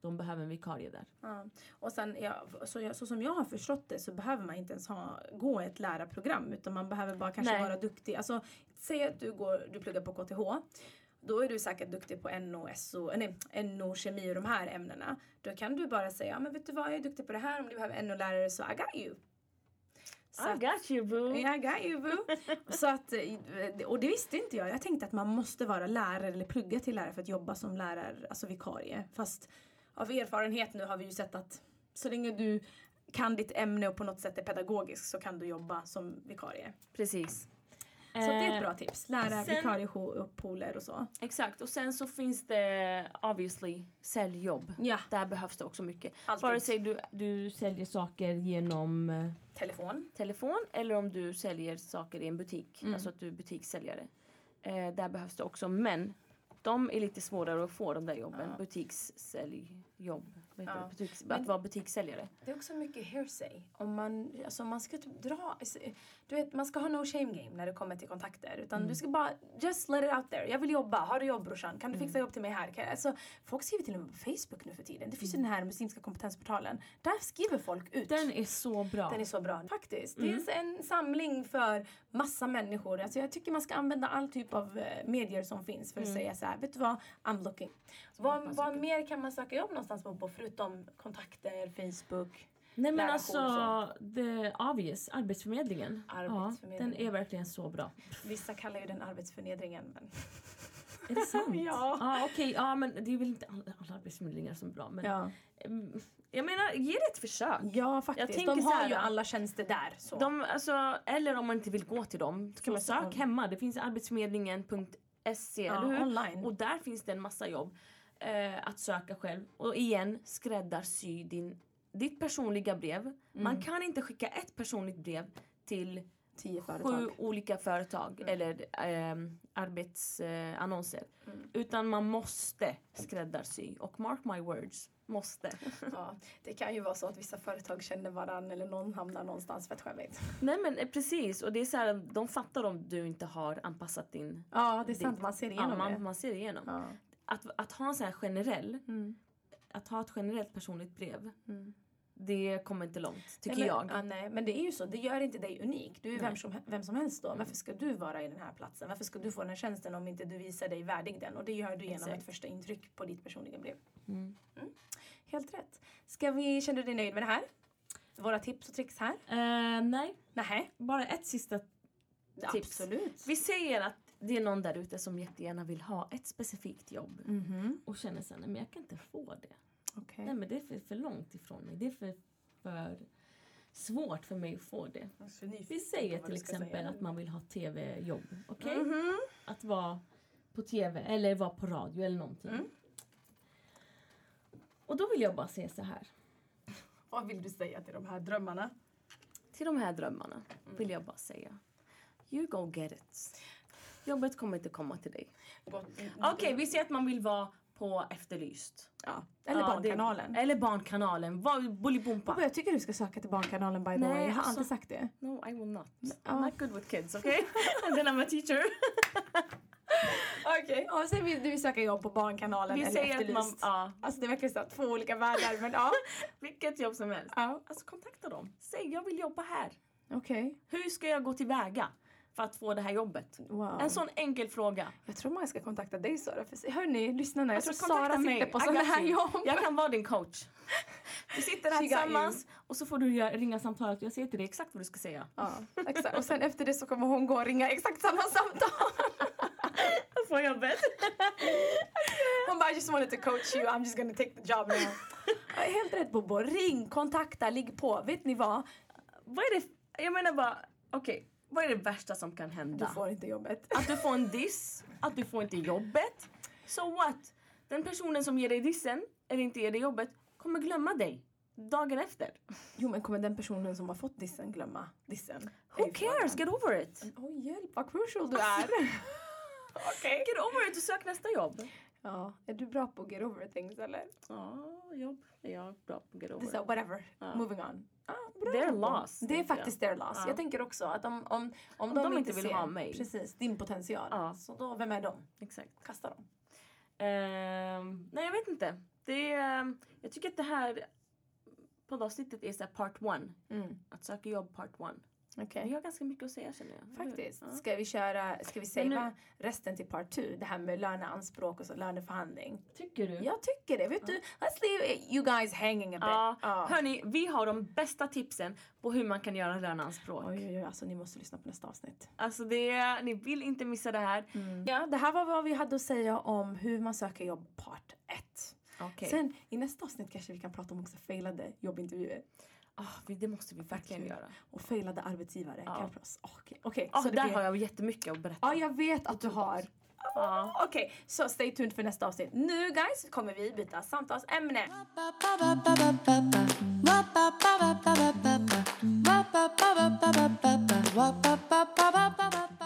A: De behöver en vikarie där.
B: Ja. Och sen, ja, så, jag, så som jag har förstått det så behöver man inte ens ha, gå ett lärarprogram utan man behöver bara kanske
A: Nej.
B: vara duktig. Alltså, säg att du, går, du pluggar på KTH. Då är du säkert duktig på NO, SO, nej, NO, kemi och de här ämnena. Då kan du bara säga, ja men vet du vad, jag är duktig på det här. Om du behöver NO-lärare så I got you. Så att-
A: got you boo!
B: I got you boo. Så att, eh, och det visste inte jag. Jag tänkte att man måste vara lärare eller plugga till lärare för att jobba som lärare, alltså vikarie. Fast av erfarenhet nu har vi ju sett att så länge du kan ditt ämne och på något sätt är pedagogisk så kan du jobba som vikarie.
A: Precis.
B: Så det är ett bra tips. Lärare,
A: sen-
B: vikarie, och pooler och så.
A: Exakt och sen så finns det obviously säljjobb.
B: Ja,
A: Där behövs det också mycket.
B: alltid.
A: Vare sig du, du säljer saker genom eh,
B: Telefon.
A: telefon eller om du säljer saker i en butik.
B: Mm.
A: Alltså att du är butikssäljare. Eh, där behövs det också. Men de är lite svårare att få de där jobben.
B: Ja.
A: Butikssäljjobb. Vad heter
B: Ja.
A: det? Butiks,
B: Men-
A: Att vara butikssäljare.
B: Det är också mycket hearsay. Om man, alltså man ska typ dra... alltså, Du vet, man ska ha no shame game när det kommer till kontakter. Utan
A: Mm.
B: du ska bara, just let it out there. Jag vill jobba. Har du jobb brorsan? Kan du
A: Mm.
B: fixa jobb till mig här? Kan, alltså, folk skriver till och med på Facebook nu för tiden. Det finns ju den här muslimska kompetensportalen. Där skriver folk ut.
A: Mm. Den är så bra. Mm.
B: Den är så bra faktiskt. Det är en samling för massa människor. Alltså jag tycker man ska använda all typ av eh, medier som finns för att
A: Mm.
B: säga så här, vet du vad, I'm looking. Vad,
A: hoppas
B: vad mer kan man söka jobb någonstans på, på förutom kontakter, Facebook?
A: Nej men
B: Lära
A: alltså
B: jour
A: the obvious, Arbetsförmedlingen. Ja, den
B: Arbetsförmedlingen.
A: är verkligen så bra.
B: Vissa kallar ju den arbetsförnedringen men...
A: Är det sant?
B: Ja.
A: (laughs) Ja okej, ja men det är väl inte alla, alla arbetsförmedlingar som är bra men
B: Ja,
A: Mm, Jag menar, ge det ett försök.
B: ja faktiskt.
A: tänker
B: De
A: så
B: har
A: här,
B: ju
A: då.
B: alla tjänster där. Så.
A: De, alltså, eller om man inte vill gå till dem, så kan
B: Så
A: man
B: ska
A: sök
B: man-
A: hemma. Det finns arbetsförmedlingen.se,
B: ja,
A: E, eller hur?
B: online.
A: Och där finns det en massa jobb eh, att söka själv. Och igen, skräddarsy din, ditt personliga brev.
B: Mm.
A: Man kan inte skicka ett personligt brev till
B: tio
A: sju
B: företag.
A: olika företag
B: Mm.
A: eller eh, arbetsannonser. Eh, annonser.
B: Mm.
A: Utan man måste skräddarsy. Och mark my words,
B: (laughs)
A: måste.
B: Ja, det kan ju vara så att vissa företag känner varandra eller någon hamnar någonstans fett skämmigt.
A: Nej men eh, precis, och det är så här, de fattar om du inte har anpassat din...
B: Ja, det är
A: Det-
B: sant. Man ser
A: Ja,
B: igenom
A: man,
B: det.
A: man ser igenom.
B: Ja.
A: Att, att ha en så här generell,
B: Mm.
A: att ha ett generellt personligt brev,
B: Mm.
A: det kommer inte långt tycker
B: nej,
A: jag.
B: Men, ja, nej, men det är ju så. Det gör inte dig unik. Du är
A: Nej.
B: vem som, vem som helst då. Varför ska du vara i den här platsen? Varför ska du få den här tjänsten om inte du visar dig värdig den? Och det gör du genom
A: Exakt.
B: ett första intryck på ditt personliga brev.
A: Mm.
B: Helt rätt. Ska vi, känner du dig nöjd med det här? Våra tips och tricks här?
A: Eh, nej,
B: Nej.
A: bara ett sista. Tips.
B: Absolut.
A: Vi säger att det är någon där ute som jättegärna vill ha ett specifikt jobb
B: Mhm.
A: och känner sen, "Nej, men jag kan inte få det.
B: Okej.
A: Nej men det är för, för långt ifrån mig. Det är för, för svårt för mig att få det. Vi säger till exempel att man vill ha tv-jobb. Okej?
B: Mhm.
A: Att vara på tv eller vara på radio eller någonting.
B: Mm.
A: Och då vill jag bara säga så här.
B: Vad vill du säga till de här drömmarna?
A: Till de här drömmarna vill jag bara säga. You go get it. Jobbet kommer inte komma till dig. Okej, vi säger att man vill vara på Efterlyst.
B: Ja. Eller
A: Ja,
B: Barnkanalen.
A: Det, eller Barnkanalen. Vad-
B: Pappa,
A: Bolibompa.
B: Jag tycker du ska söka till Barnkanalen by the
A: Nej,
B: way. Jag har
A: alltså-
B: alltid sagt det.
A: No, I will not. I'm
B: Ja.
A: not good with kids, okay? (laughs) And then I'm a teacher.
B: Okej. Och sen vill du söka jobb på Barnkanalen
A: Vi
B: eller
A: säger att
B: Efterlyst.
A: man... Ja,
B: Alltså det är verkligen så här, två olika världar
A: (laughs)
B: men ja.
A: vilket jobb som helst.
B: ja.
A: Alltså kontakta dem. Säg jag vill jobba här.
B: Okej.
A: Hur ska jag gå tillväga för att få det här jobbet?
B: Wow.
A: En sån enkel fråga.
B: Jag tror man ska kontakta dig Sara. För, hörni, lyssna nu. Jag
A: Alltså,
B: tror
A: kontakta
B: Sara
A: mig.
B: sitter på
A: I
B: sådana
A: got
B: här
A: you.
B: jobb.
A: Jag kan vara din coach. Vi sitter här
B: She got you.
A: tillsammans och så får du göra- ringa samtalet och jag säger till dig exakt vad du ska säga.
B: Ja, exakt. Och sen efter det så kommer hon gå och ringa exakt samma samtal.
A: Jag får jobbet.
B: Hon bara I just wanted to coach you, I'm just gonna take the job now. (laughs) Ja, Helt rätt Bobo. Ring, kontakta, ligg på. Vet ni vad?
A: Vad är det... Jag menar bara, okej. vad är det värsta som kan
B: Du
A: hända?
B: får inte jobbet. Ah,
A: Att du får en diss, att du får inte jobbet. So what? Den personen som ger dig dissen, eller inte ger dig jobbet, kommer glömma dig dagen efter.
B: Jo men kommer den personen som har fått dissen glömma dissen?
A: Who cares? Get over it!
B: Oj hjälp vad crucial du (laughs) är. Okej.
A: Get over it och sök nästa jobb.
B: Ja, är du bra på get over things eller?
A: Ja, jobb är jag bra på. Get
B: Det
A: over
B: är
A: it.
B: så, whatever,
A: Ja.
B: moving on. Ah,
A: They're lost.
B: Det är
A: tänker jag.
B: faktiskt their loss.
A: Ja.
B: Jag tänker också att om, om, om,
A: Om
B: de,
A: de inte vill
B: ser,
A: ha mig.
B: Precis, din potential.
A: Ja.
B: Så då, vem är de?
A: Exakt.
B: Kasta dem.
A: Ehm, nej jag vet inte. Det är, ehm, jag tycker att det här poddavsnittet är så här part one.
B: Mm.
A: Att söka jobb part one.
B: Okej.
A: Vi har ganska mycket att säga känner jag. eller hur? Mm, Ja.
B: Faktiskt. Ska vi köra, ska vi
A: Men
B: säga resten till part 2? Det här med löneanspråk och så, löneförhandling.
A: Tycker du?
B: Jag tycker det. Vet du, let's leave you guys hanging a bit.
A: Ja.
B: Ja.
A: Hörni, vi har de bästa tipsen på hur man kan göra löneanspråk.
B: Oj, oj, oj, alltså ni måste lyssna på nästa avsnitt.
A: Alltså det, är- ni vill inte missa det här.
B: Ja, det här var vad vi hade att säga om hur man söker jobb part 1.
A: Okej.
B: Sen i nästa avsnitt kanske vi kan prata om också failade jobbintervjuer
A: Ah, vi- det måste vi verkligen göra.
B: och failade arbetsgivare.
A: Ja.
B: Ja. Okej, okej.
A: Ah,
B: så
A: där
B: det blir- Ah,
A: har jag jättemycket att berätta. Ah.
B: Ja, jag vet att du har.
A: Ja.
B: Okej, så stay tuned för nästa avsnitt. Nu guys kommer vi byta samtalsämne.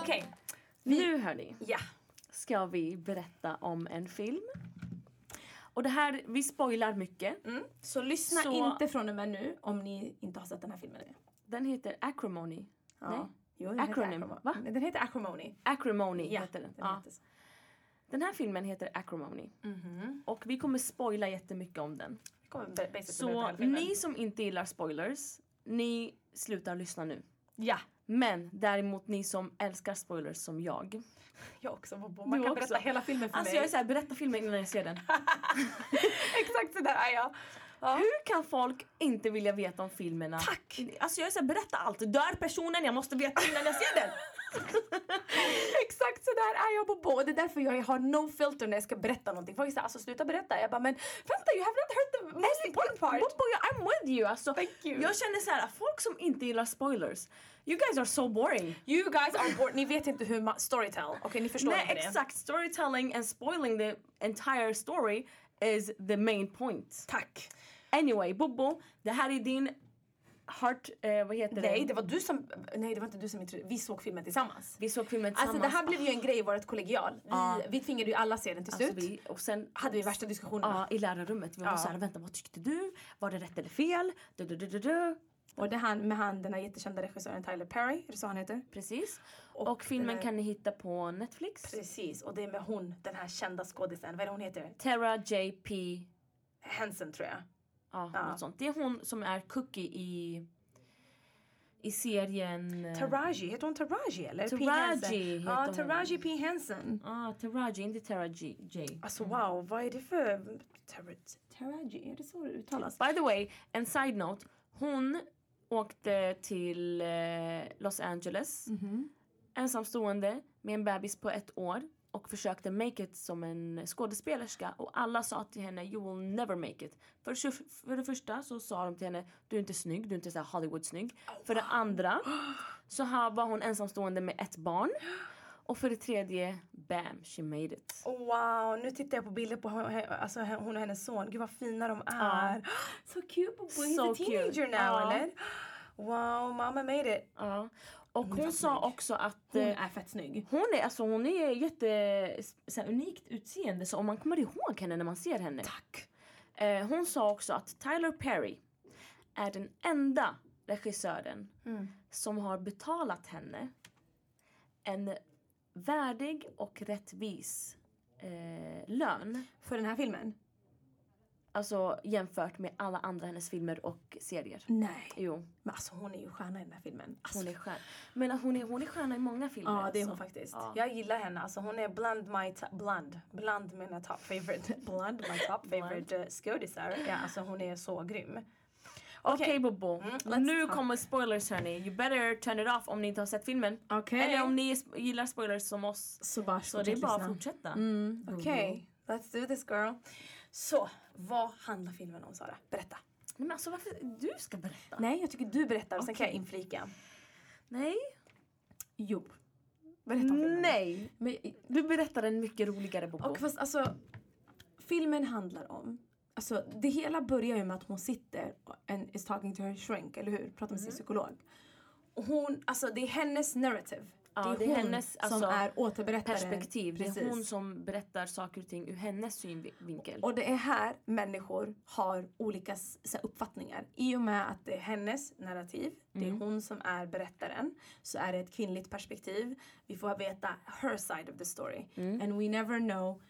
B: Okej,
A: Nu hörni,
B: ja.
A: ska vi berätta om en film. Och det här, vi spoilar mycket.
B: Mm. Så lyssna
A: Så-
B: inte från och med nu om ni inte har sett den här filmen. än.
A: Den heter Acrimony.
B: Ja.
A: Nej.
B: Jo, den heter
A: Acronym,
B: Acromo-
A: va?
B: Nej, Den heter Acrimony.
A: Acrimony
B: Ja,
A: heter den.
B: den
A: Den, ja. Mm.
B: heter så.
A: den här filmen heter Acrimony.
B: Mhm.
A: Och vi kommer spoila jättemycket om den.
B: Vi kommer be- basically berätta
A: Så
B: hela filmen.
A: ni som inte gillar spoilers, ni slutar lyssna nu.
B: Ja,
A: Men däremot ni som älskar spoilers som jag.
B: jag också. Bobo. Man
A: Du
B: kan
A: också.
B: berätta hela filmen för
A: Alltså
B: mig.
A: jag är såhär, berätta filmen innan jag ser den.
B: (laughs) Exakt sådär är jag.
A: Hur kan folk inte vilja veta om filmerna?
B: Tack!
A: Alltså jag är såhär, berätta allt. Dör personen, jag måste veta innan jag ser (laughs) den.
B: (laughs) Exakt så där är jag på båda. Det är därför jag har no filter när jag ska berätta någonting. Folk säger alltså sluta berätta. Jag bara men vänta you have not heard the most important part.
A: Bobo, jag- I'm with you. Alltså,
B: Thank you.
A: Jag känner så här, folk som inte gillar spoilers, you guys are so boring.
B: You guys are important. Ni vet inte hur ma- storytell. Okej ni förstår
A: Nej
B: inte det.
A: exakt, storytelling and spoiling the entire story is the main point.
B: Tack.
A: Anyway, Bobo, det här är din heart... Eh, vad heter
B: Nej
A: det?
B: det var du som, nej det var inte du som intro- vi såg filmen tillsammans.
A: Vi såg filmen
B: Alltså
A: tillsammans.
B: det här blev ju en grej i vårt kollegial. Vi,
A: Ja.
B: vi tvingade ju alla se den till slut.
A: Alltså, vi, och sen
B: Hade vi värsta diskussionerna.
A: Ja, i lärarrummet. Vi var
B: Ja.
A: så här, vänta vad tyckte du? Var det rätt eller fel? Du, du, du, du, du.
B: Och det han med han den här jättekända regissören Tyler Perry, är det så han heter?
A: Precis.
B: Och
A: Och, filmen
B: den-
A: kan ni hitta på Netflix.
B: Precis, och det är med hon, den här kända skådisen, vad är det hon heter?
A: Tara J.P.
B: Hansen tror jag.
A: Ja,
B: Ja.
A: något sånt. Det är hon som är Cookie i, i serien... eh,
B: Taraji, heter hon Taraji eller? P.
A: Taraji heter
B: Hansen? Ja,
A: hon.
B: Taraji P. Hansen.
A: Ah, Taraji, inte Tara J. J.
B: Alltså wow, vad är det för... Tar- Taraji, är det så det uttalas?
A: By the way, en side note. Hon åkte till eh, Los Angeles ensamstående med en bebis på ett år och försökte make it som en skådespelerska och alla sa till henne you will never make it. För, för det första så sa de till henne du är inte snygg, du är inte så här Hollywood-snygg. För det andra så här var hon ensamstående med ett barn. Och för det tredje, bam, she made it.
B: Oh, wow, nu tittar jag på bilder på hon, alltså, hon och hennes son. Gud vad fina de är. (gasps) Så cute! Bobo. He's
A: So
B: a teenager
A: cute.
B: now
A: Ja.
B: eller? Wow, mamma made it.
A: Ja. Och
B: är
A: hon sa också att...
B: Hon
A: eh,
B: är fett snygg.
A: Hon är, alltså, hon är jätte så här, unikt utseende så om man kommer ihåg henne när man ser henne. Tack. Eh, hon sa också att Tyler Perry är den enda regissören
B: Mm.
A: som har betalat henne en värdig och rättvis eh, lön.
B: För den här filmen?
A: Alltså jämfört med alla andra hennes filmer och serier.
B: Nej.
A: Jo,
B: Men alltså hon är ju stjärna i den här filmen. Alltså,
A: hon är stjärna. Men hon är, hon är stjärna i många filmer.
B: Ja, det är
A: alltså.
B: hon faktiskt.
A: Ja.
B: Jag gillar henne. Alltså, hon är bland, my to- bland, bland mina top favorite, (laughs) bland my top favorite eh, skådisar. Ja, alltså, hon är så grym.
A: Okej Bobo,
B: Mm, let's
A: nu
B: talk.
A: kommer spoilers hörni. You better turn it off om ni inte har sett filmen.
B: Okej.
A: Eller om ni sp- gillar spoilers som oss.
B: Så bara
A: Så det är bara att fortsätta.
B: Mm, Okej, let's do this girl. Så, vad handlar filmen om Sara? Berätta.
A: Nej, men alltså varför du ska berätta?
B: Nej, jag tycker du berättar och sen kan jag inflika.
A: Nej.
B: Jo. Berätta om filmen.
A: Nej.
B: Men,
A: Du berättar en mycket roligare Bobo.
B: och fast alltså, filmen handlar om Alltså det hela börjar ju med att hon sitter och and
A: Mm.
B: is talking to her shrink, eller hur? Pratar med sin psykolog. Och hon, alltså det är hennes narrative.
A: Ja. Ja,
B: det är hon som
A: alltså,
B: är återberättaren.
A: perspektiv. Det är
B: Precis.
A: hon som berättar saker och ting ur hennes synvinkel.
B: Och det är här människor har olika s- så här, uppfattningar. I och med att det är hennes narrativ, det är
A: Mm.
B: hon som är berättaren, så är det ett kvinnligt perspektiv. Vi får veta her side of the story.
A: Mm.
B: And we never know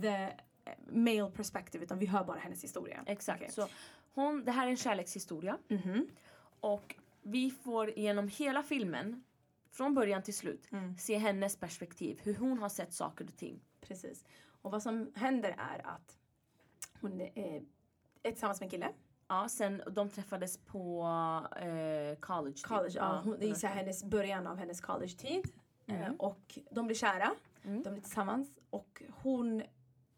B: the eh, male perspective, utan vi hör bara hennes historia.
A: Exakt.
B: Okej. Mm. Mhm.
A: Så hon, det här är en kärlekshistoria. Och vi får genom hela filmen, från början till slut,
B: Mm.
A: se hennes perspektiv. Hur hon har sett saker och ting.
B: Precis. Och vad som händer är att hon är, är tillsammans med en kille.
A: Ja, sen de träffades på eh, college. typ.
B: college. Ja, hon, det är
A: verkligen.
B: så här hennes början av hennes college-tid. Eh, Och de blir kära, de blir tillsammans och hon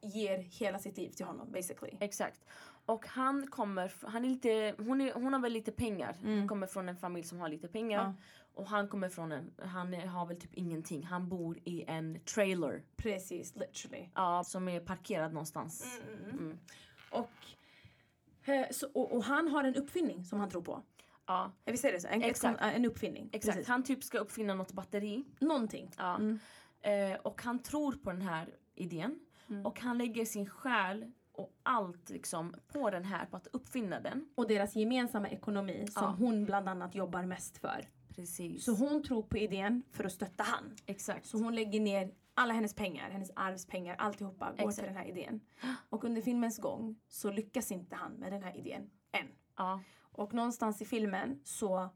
B: ger hela sitt liv till honom basically.
A: Exakt. Och han kommer, fr- han är lite, hon, är, hon har väl lite pengar. Hon kommer från en familj som har lite pengar.
B: Mm. Ja.
A: Och han kommer från en, han är- har väl typ ingenting. Han bor i en trailer.
B: Precis, literally.
A: Ja, som är parkerad någonstans.
B: Mm. Och, eh, så, och, och han har en uppfinning som han tror på.
A: Ja,
B: Eh, Visst är det så? En,
A: Exakt.
B: Ett, sån- en uppfinning.
A: exakt.
B: Precis. Mm.
A: Han typ ska uppfinna något batteri.
B: Någonting.
A: Ja. Eh, och han tror på den här idén.
B: Mm.
A: Och han lägger sin själ och allt liksom på den här, på att uppfinna den.
B: Och deras gemensamma ekonomi som
A: Ja.
B: hon bland annat jobbar mest för.
A: Precis.
B: Så hon tror på idén för att stötta han.
A: Exakt.
B: Så hon lägger ner alla hennes pengar, hennes arvspengar, alltihopa går till
A: Exakt.
B: den här idén. Och under filmens gång så lyckas inte han med den här idén än.
A: Ja.
B: Och någonstans i filmen så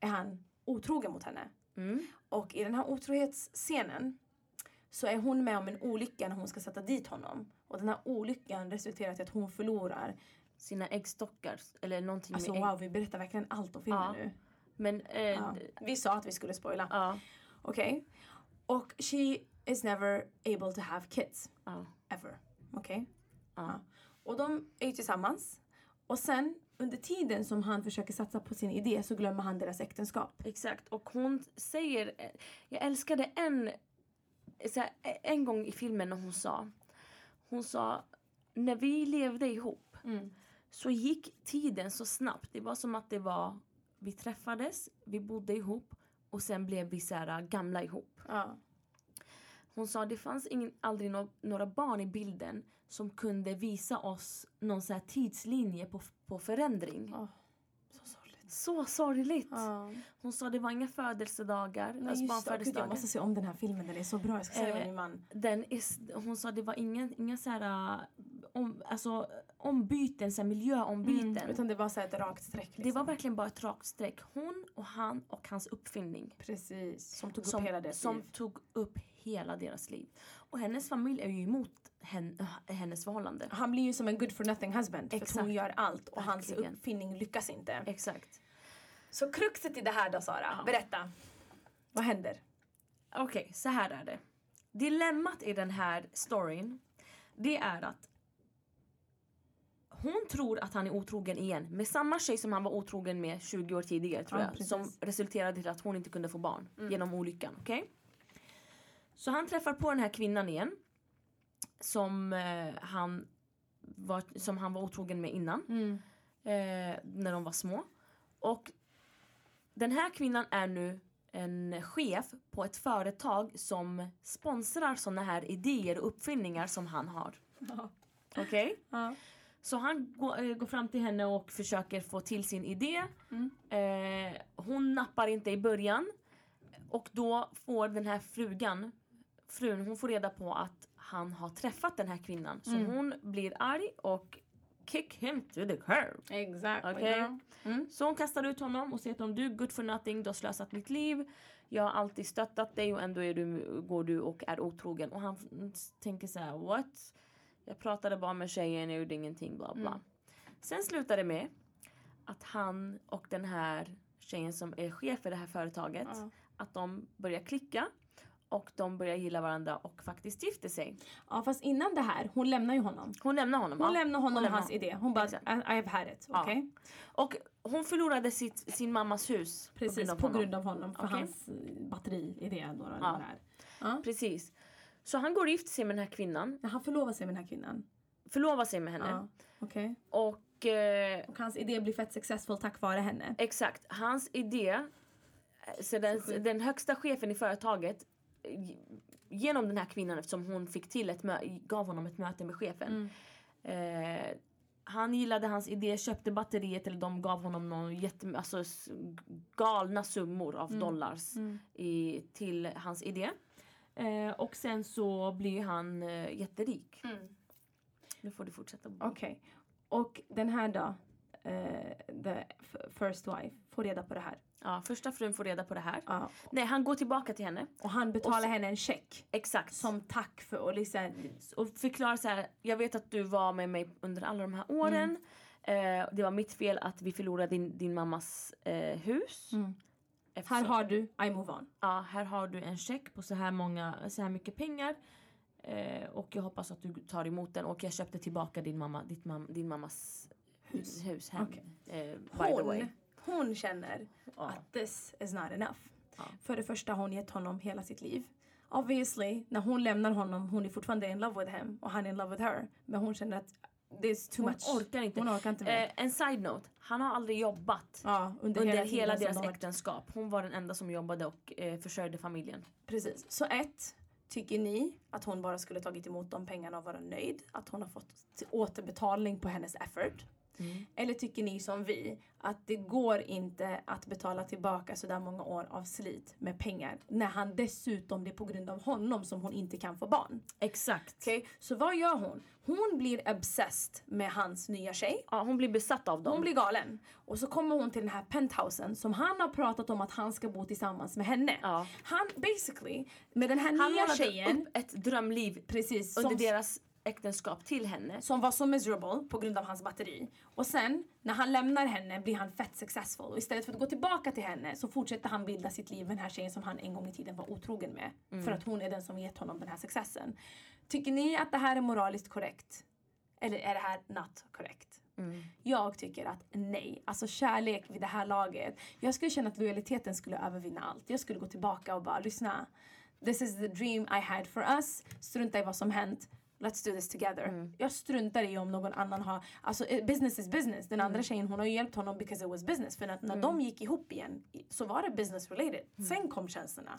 B: är han otrogen mot henne.
A: Mm.
B: Och i den här otrohetsscenen så är hon med om en olycka när hon ska sätta dit honom. Och den här olyckan resulterar till att hon förlorar.
A: Sina äggstockar. Eller någonting
B: Alltså
A: med ägg.
B: wow, vi berättar verkligen allt om filmen
A: Ja.
B: nu.
A: Men eh,
B: Ja. Vi sa att vi skulle spoila.
A: Ja,
B: Okej? Och she is never able to have kids.
A: ja,
B: ever. Okej?
A: Ja.
B: Ja. Och de är ju tillsammans. Och sen under tiden som han försöker satsa på sin idé så glömmer han deras äktenskap.
A: exakt. Och hon säger, eh, jag älskade en, så här, eh, en gång i filmen när hon sa, hon sa, när vi levde ihop
B: Mm.
A: så gick tiden så snabbt. Det var som att det var, vi träffades, vi bodde ihop och sen blev vi så här, gamla ihop.
B: Ja.
A: Hon sa det fanns ingen, aldrig no- några barn i bilden som kunde visa oss någon så här tidslinje på, på förändring.
B: Åh, så sorgligt.
A: Så sorgligt.
B: Ja.
A: Hon sa det var inga födelsedagar,
B: Nej,
A: alltså
B: just det. Gud, jag
A: barnfödelsedagar.
B: måste se om den här filmen, den är så bra. Jag ska säga det
A: Eh,
B: med min man.
A: Den är, s- hon sa det var inga, inga så här, äh, om, alltså, ombyten, så här, miljöombyten.
B: mm, Utan det var så här ett rakt streck. Liksom.
A: Det var verkligen bara ett rakt streck. Hon och han och hans uppfinning.
B: Precis. Som tog upp hela
A: Som,
B: deras
A: som
B: liv.
A: tog upp hela deras liv. Och hennes familj är ju emot hen, äh, hennes förhållande.
B: Han blir ju som en good for nothing husband. För att
A: Exakt.
B: hon gör allt och hans
A: Verkligen.
B: uppfinning lyckas inte.
A: Exakt.
B: Så kruxet i det här då Sara, berätta. Vad händer?
A: Okej, så här är det. Dilemmat i den här storyn, det är att hon tror att han är otrogen igen med samma tjej som han var otrogen med 20 år tidigare tror
B: Ja,
A: jag.
B: precis. Mm.
A: Som resulterade till att hon inte kunde få barn genom olyckan. Okej? Så han träffar på den här kvinnan igen. Som, eh, han, var, som han var otrogen med innan.
B: Mm.
A: Eh, när de var små. Och den här kvinnan är nu en chef på ett företag som sponsrar såna här idéer och uppfinningar som han har. Okej?
B: Ja.
A: Så han går, eh, går fram till henne och försöker få till sin idé. Eh, hon nappar inte i början. Och då får den här frugan, frun, hon får reda på att han har träffat den här kvinnan. Så hon blir arg och kick him to the curb.
B: Exakt.
A: Okej.
B: Mm.
A: Så hon kastar ut honom och säger till honom du är good for nothing, du har slösat mitt liv. Jag har alltid stöttat dig och ändå är du, går du och är otrogen. Och han f- tänker så här: what? Jag pratade bara med tjejen, jag gjorde ingenting bla
B: Mm.
A: bla. Sen slutar det med att han och den här tjejen som är chef för det här företaget,
B: Ja.
A: att de börjar klicka. Och de börjar gilla varandra och faktiskt gifter sig.
B: Ja fast innan det här, hon lämnar ju honom.
A: Hon lämnar honom. ja.
B: Hon lämnar honom
A: lämnar
B: hans idé. Hon bara, I,
A: Exakt.
B: I've had it.
A: Ja.
B: Okej?
A: Och hon förlorade sitt, sin mammas hus
B: Precis, på
A: honom.
B: grund av honom. För
A: Okej.
B: hans eh, batteriidé då. eller
A: Ja.
B: vad det är. Ja.
A: Precis. Så han går och gifter sig med den här kvinnan,
B: Men Han förlovar sig med den här kvinnan.
A: förlovar sig med henne.
B: Ja. Okej.
A: Och eh,
B: Och hans idé blir fett successful tack vare henne.
A: exakt, hans idé eh, Så den, den högsta chefen i företaget eh, genom den här kvinnan eftersom hon fick till ett mö- gav honom ett möte med
B: Mm.
A: chefen. Eh, han gillade hans idé, köpte batteriet eller de gav honom någon jätte, alltså, s- galna summor av dollars i, till hans idé. Eh, och sen så blir han eh, jätterik.
C: Mm.
A: Nu får du fortsätta.
B: Okej. Och den här då, eh, the f- first wife, får reda på det här.
A: Ja, första frun får reda på det här.
B: Ja.
A: Nej, han går tillbaka till henne.
B: Och han betalar henne en check.
A: Exakt.
B: Som tack för och liksom,
A: och förklara så här. Jag vet att du var med mig under alla de här åren. Eh, det var mitt fel att vi förlorade din, din mammas eh, hus.
B: Mm.
A: Eftersom-
B: här har du, I move on.
A: ja, här har du en check på så här, många, så här mycket pengar. Eh, och jag hoppas att du tar emot den. Och jag köpte tillbaka din, mamma, ditt mam, din mammas hus. hus hem.
B: Okej.
A: Eh, by the way.
B: Hon, hon känner
A: Ja.
B: att this is not enough.
A: Ja.
B: För det första har hon gett honom hela sitt liv. Obviously, när hon lämnar honom, hon är fortfarande in love with him och han är in love with her. Men hon känner att this too
A: Hon
B: much.
A: orkar inte.
B: Hon orkar inte mer.
A: Eh, en side note. Han har aldrig jobbat.
B: ja, under,
A: Under
B: hela,
A: hela,
B: tiden som
A: deras
B: de har varit-
A: äktenskap. Hon var den enda som jobbade och eh, försörjde familjen.
B: Precis. Så ett, tycker ni att hon bara skulle tagit emot de pengarna och vara nöjd? Att hon har fått t- återbetalning på hennes effort? Eller tycker ni som vi att det går inte att betala tillbaka sådär många år av slit med pengar när han dessutom, det är på grund av honom som hon inte kan få barn?
A: Exakt.
B: Okej, så vad gör hon? Hon blir obsessed med hans nya tjej.
A: Ja, hon blir besatt av dem.
B: Hon blir galen. Och så kommer hon till den här penthousen som han har pratat om att han ska bo tillsammans med henne.
A: Ja.
B: Han basically, med den här
A: han
B: nya
A: målade
B: tjejen.
A: upp ett drömliv
B: Precis,
A: under
B: som,
A: deras äktenskap till henne.
B: som var så miserable på grund av hans batteri. Och sen när han lämnar henne blir han fett successful. Och istället för att gå tillbaka till henne så fortsätter han bilda sitt liv med den här tjejen som han en gång i tiden var otrogen med.
A: Mm.
B: För att hon är den som gett honom den här successen. Tycker ni att det här är moraliskt korrekt? Eller är det här not korrekt? Jag tycker att nej. Alltså kärlek vid det här laget. Jag skulle känna att lojaliteten skulle övervinna allt. Jag skulle gå tillbaka och bara lyssna. This is the dream I had for us. Strunta i vad som hänt. Let's do this together. Jag struntar i om någon annan har... Alltså eh, business is business. Den andra tjejen hon har ju hjälpt honom because it was business. För att när de gick ihop igen i- så var det business related. Sen kom känslorna.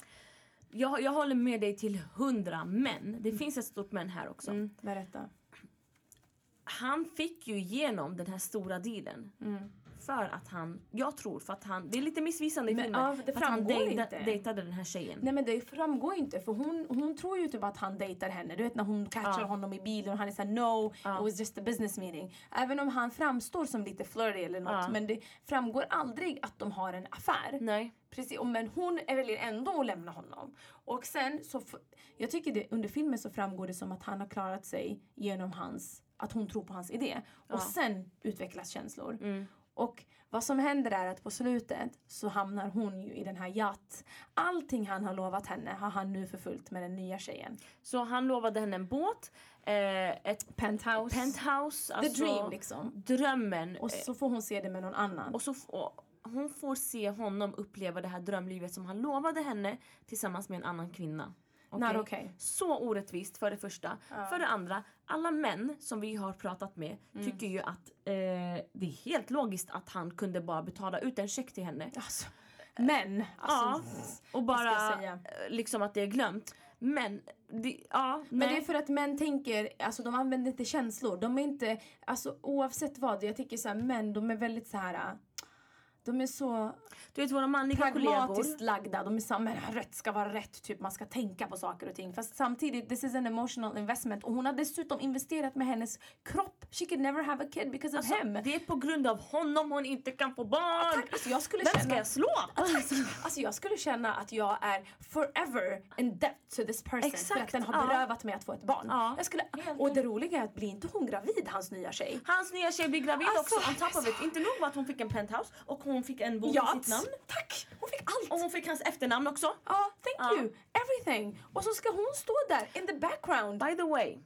A: Jag, jag håller med dig till hundra, men
B: Mm.
A: det finns ett stort men här också.
B: Berätta.
A: Han fick ju igenom den här stora dealen.
B: Mm.
A: För att han, jag tror för att han, det är lite missvisande i
B: Men,
A: filmen.
B: ja,
A: för
B: det
A: att han
B: framgår
A: dejta,
B: inte.
A: dejtade den här tjejen.
B: Nej men det framgår ju inte för hon, hon tror ju typ att han dejtar henne. Du vet när hon catchar
A: Ja.
B: honom i bilen och han är såhär no,
A: Ja.
B: it was just a business meeting. Även om han framstår som lite flirty eller något
A: Ja.
B: men det framgår aldrig att de har en affär.
A: Nej.
B: Precis, och men hon väljer ändå att lämna honom. Och sen så, f- jag tycker det, under filmen så framgår det som att han har klarat sig genom hans, att hon tror på hans idé. Och sen utvecklas känslor.
A: Mm.
B: Och vad som händer är att på slutet så hamnar hon ju i den här jatt. Allting han har lovat henne har han nu förfullt med den nya tjejen.
A: Så han lovade henne en båt, eh, ett
B: Penthouse.
A: penthouse.
B: The
A: alltså
B: dream liksom.
A: Drömmen. Eh,
B: Och så får hon se det med någon annan.
A: Och så f- och hon får se honom uppleva det här drömlivet som han lovade henne tillsammans med en annan kvinna. Okej?
B: Not okay.
A: Så orättvist för det första. För det andra, alla män som vi har pratat med
B: Mm.
A: tycker ju att eh, det är helt logiskt att han kunde bara betala ut en check till henne.
B: Alltså, men,
A: Eh. Ja,
B: alltså,
A: och
B: ska jag
A: bara
B: säga?
A: eh, liksom att det är glömt. Men, det, ja,
B: Men
A: nej.
B: det är för att män tänker, alltså de använder inte känslor. De är inte, alltså oavsett vad. Jag tycker såhär, män de är väldigt så här. äh, De är så
A: Du vet våra manliga kollegor.
B: pragmatiskt lagda. De är såhär, men rätt ska vara rätt. Typ man ska tänka på saker och ting. Fast samtidigt, this is an emotional investment. Och hon har dessutom investerat med hennes kropp. She could never have a kid because of him.
A: Alltså, Det är på grund av honom hon inte kan få barn.
B: Alltså jag skulle
A: Vem ska
B: känna...
A: jag slå?
B: Alltså jag skulle känna att jag är forever in debt to this person för att
A: Exakt,
B: den har
A: ja.
B: berövat mig att få ett barn.
A: Ja.
B: Jag skulle, och det roliga är att blir inte hon gravid, hans nya tjej?
A: Hans nya tjej blir gravid
B: Alltså,
A: också on top of it. Inte nog med att hon fick en penthouse och hon fick en bok i sitt namn.
B: Tack! Hon fick
A: Och
B: allt!
A: hon fick hans efternamn också.
B: Ja, thank
A: Ja.
B: you! Everything! Och så ska hon stå där in the background.
A: By the way,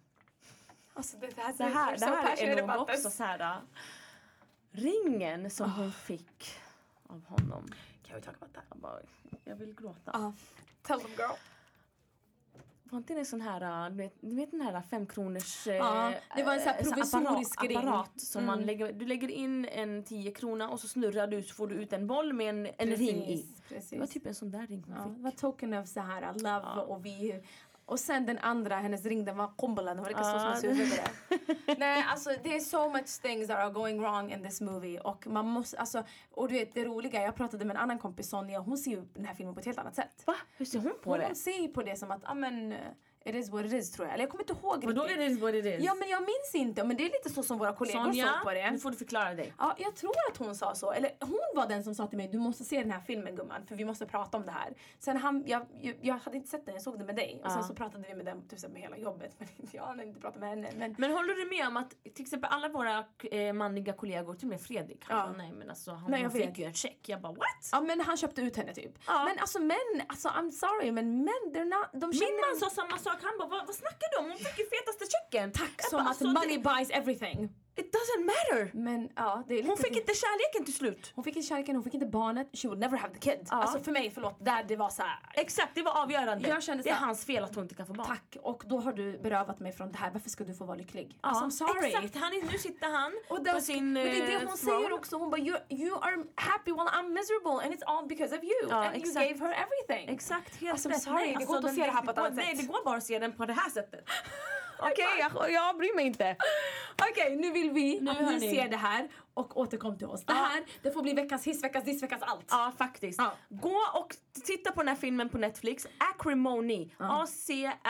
B: Alltså det här,
A: det här, det här är nog också så här. äh, Ringen som
B: Ah.
A: hon fick av honom.
B: Can we talk about that?
A: Jag, bara, jag vill gråta.
B: Ja. Tell them girl.
A: Var inte det en sån här, äh, du vet, ni vet den här femkronors... eh,
B: Ja, det var en sån här
A: eh,
B: provisorisk
A: apparat,
B: ring.
A: apparat som man
B: Mm.
A: lägger, Du lägger in en 10 krona och så snurrar du så får du ut en boll med en, en ring i.
B: Precis.
A: Det var typ en sån där ring hon
B: ja, det
A: fick.
B: var token av så här uh, love
A: Ja.
B: och vi... Och sen den andra, hennes ring, den var kumbalan. Hon verkar
A: Ja,
B: så smutsig över det. (laughs) Nej, alltså det är so much things that are going wrong in this movie. Och man måste, alltså, och du vet det roliga, jag pratade med en annan kompis, Sonja, hon ser ju den här filmen på ett helt annat sätt.
A: Va? Hur ser hon på
B: Hon
A: det?
B: ser ju på det som att, ja men, eh, it is what it is tror jag. Eller jag kommer inte ihåg
A: Vadå är
B: riktigt.
A: det vad det är?
B: Ja men jag minns inte, men det är lite så som våra kollegor
A: Sonja,
B: såg på
A: nu
B: det.
A: får du förklara dig.
B: Ja, jag tror att hon sa så. Eller hon var den som sa till mig, du måste se den här filmen gumman, för vi måste prata om det här. Sen han, jag, jag, jag hade inte sett den, jag såg den med dig. Och sen
A: Ja.
B: så pratade vi med den typ så här med hela jobbet, (laughs) men inte jag hade inte pratat med henne. Men
A: Men håller du med om att till exempel alla våra eh, manliga kollegor, till och med Fredrik, han
B: Ja.
A: bara, nej men alltså han,
B: Nej, jag
A: hon fick
B: vet.
A: ju en check. Jag bara what?
B: Ja men han köpte ut henne typ.
A: Ja.
B: Men alltså män, alltså I'm sorry men män, they're not, de
A: Min
B: känner...
A: man sa samma sak, han bara vad, vad snackar du om? Hon fick ju fetaste checken.
B: Tack
A: Jag
B: som
A: bara,
B: att
A: alltså,
B: money buys everything.
A: Det, it doesn't matter!
B: Men ja, det är lite...
A: Hon fick inte kärleken till slut.
B: hon fick inte kärleken, hon fick inte barnet, she would never have the kid.
A: Ja.
B: Alltså för mig, förlåt, där det var så här.
A: Exakt, det var avgörande.
B: Jag kände
A: det är
B: så här-
A: hans fel att hon inte kan få barn.
B: Tack, och då har du berövat mig från det här, varför ska du få vara lycklig?
A: Ja,
B: Alltså I'm sorry.
A: Exakt, han är, nu sitter han
B: Och där-
A: på sin
B: Men det är det
A: eh,
B: hon
A: throne.
B: säger också, hon bara you, you are happy while I'm miserable and it's all because of you.
A: Ja,
B: and
A: exakt.
B: you gave her everything. (laughs)
A: Exakt, helt
B: Alltså, I'm
A: rätt.
B: sorry, det går inte att
A: den-
B: se det här på ett
A: går-
B: annat
A: Nej, det
B: sätt.
A: går bara att se den på det här sättet. Okej, jag, jag bryr mig inte.
B: Okej, nu vill vi
A: Nu
B: att ni,
A: hör ni.
B: ser det här och återkom till oss. Det
A: Ja.
B: här, det får bli veckans hiss, veckans diss, veckans allt.
A: Ja, faktiskt.
B: Ja.
A: Gå och t- titta på den här filmen på Netflix. Acrimony.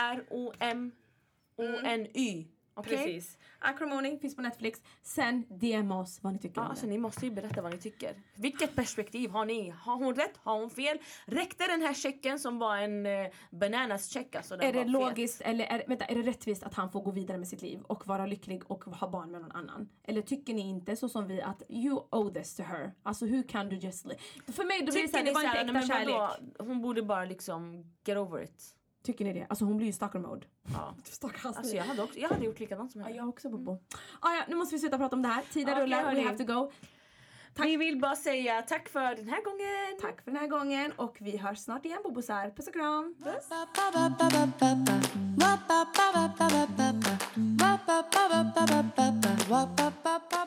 A: A-C-R-O-M-O-N-Y. Okej?
B: Precis. Acrimony finns på Netflix. Sen DM oss vad ni tycker
A: Ja,
B: om
A: alltså
B: den.
A: ni måste ju berätta vad ni tycker. Vilket perspektiv har ni? Har hon rätt? Har hon fel? Räckte den här checken som var en eh, bananas check alltså? Den
B: Är det
A: var fet?
B: logiskt eller är, vänta, är det rättvist att han får gå vidare med sitt liv och vara lycklig och ha barn med någon annan? Eller tycker ni inte så som vi att you owe this to her? Alltså hur kan du just... li- För mig då blir det såhär,
A: Tycker
B: det
A: ni
B: var inte
A: såhär, nej,
B: äkta
A: men
B: kärlek.
A: vadå? Hon borde bara liksom get over it.
B: Tycker ni det? Alltså hon blir ju stalker mode. (laughs)
A: Ja.
B: Stalker alltså,
A: Alltså jag hade, också, jag hade gjort likadant som
B: Ja,
A: henne.
B: jag också Bobo. Ah, ja, nu måste vi sluta prata om det här. Tiden
A: Okej,
B: rullar,
A: hörni.
B: we have to go.
A: Vi vill bara säga tack för den här gången.
B: Tack för den här gången och vi hörs snart igen Bobosar. Puss och kram!
D: Ba-ba-ba-ba-ba-ba. Ba-ba-ba-ba-ba-ba-ba. Ba-ba-ba-ba-ba-ba-ba.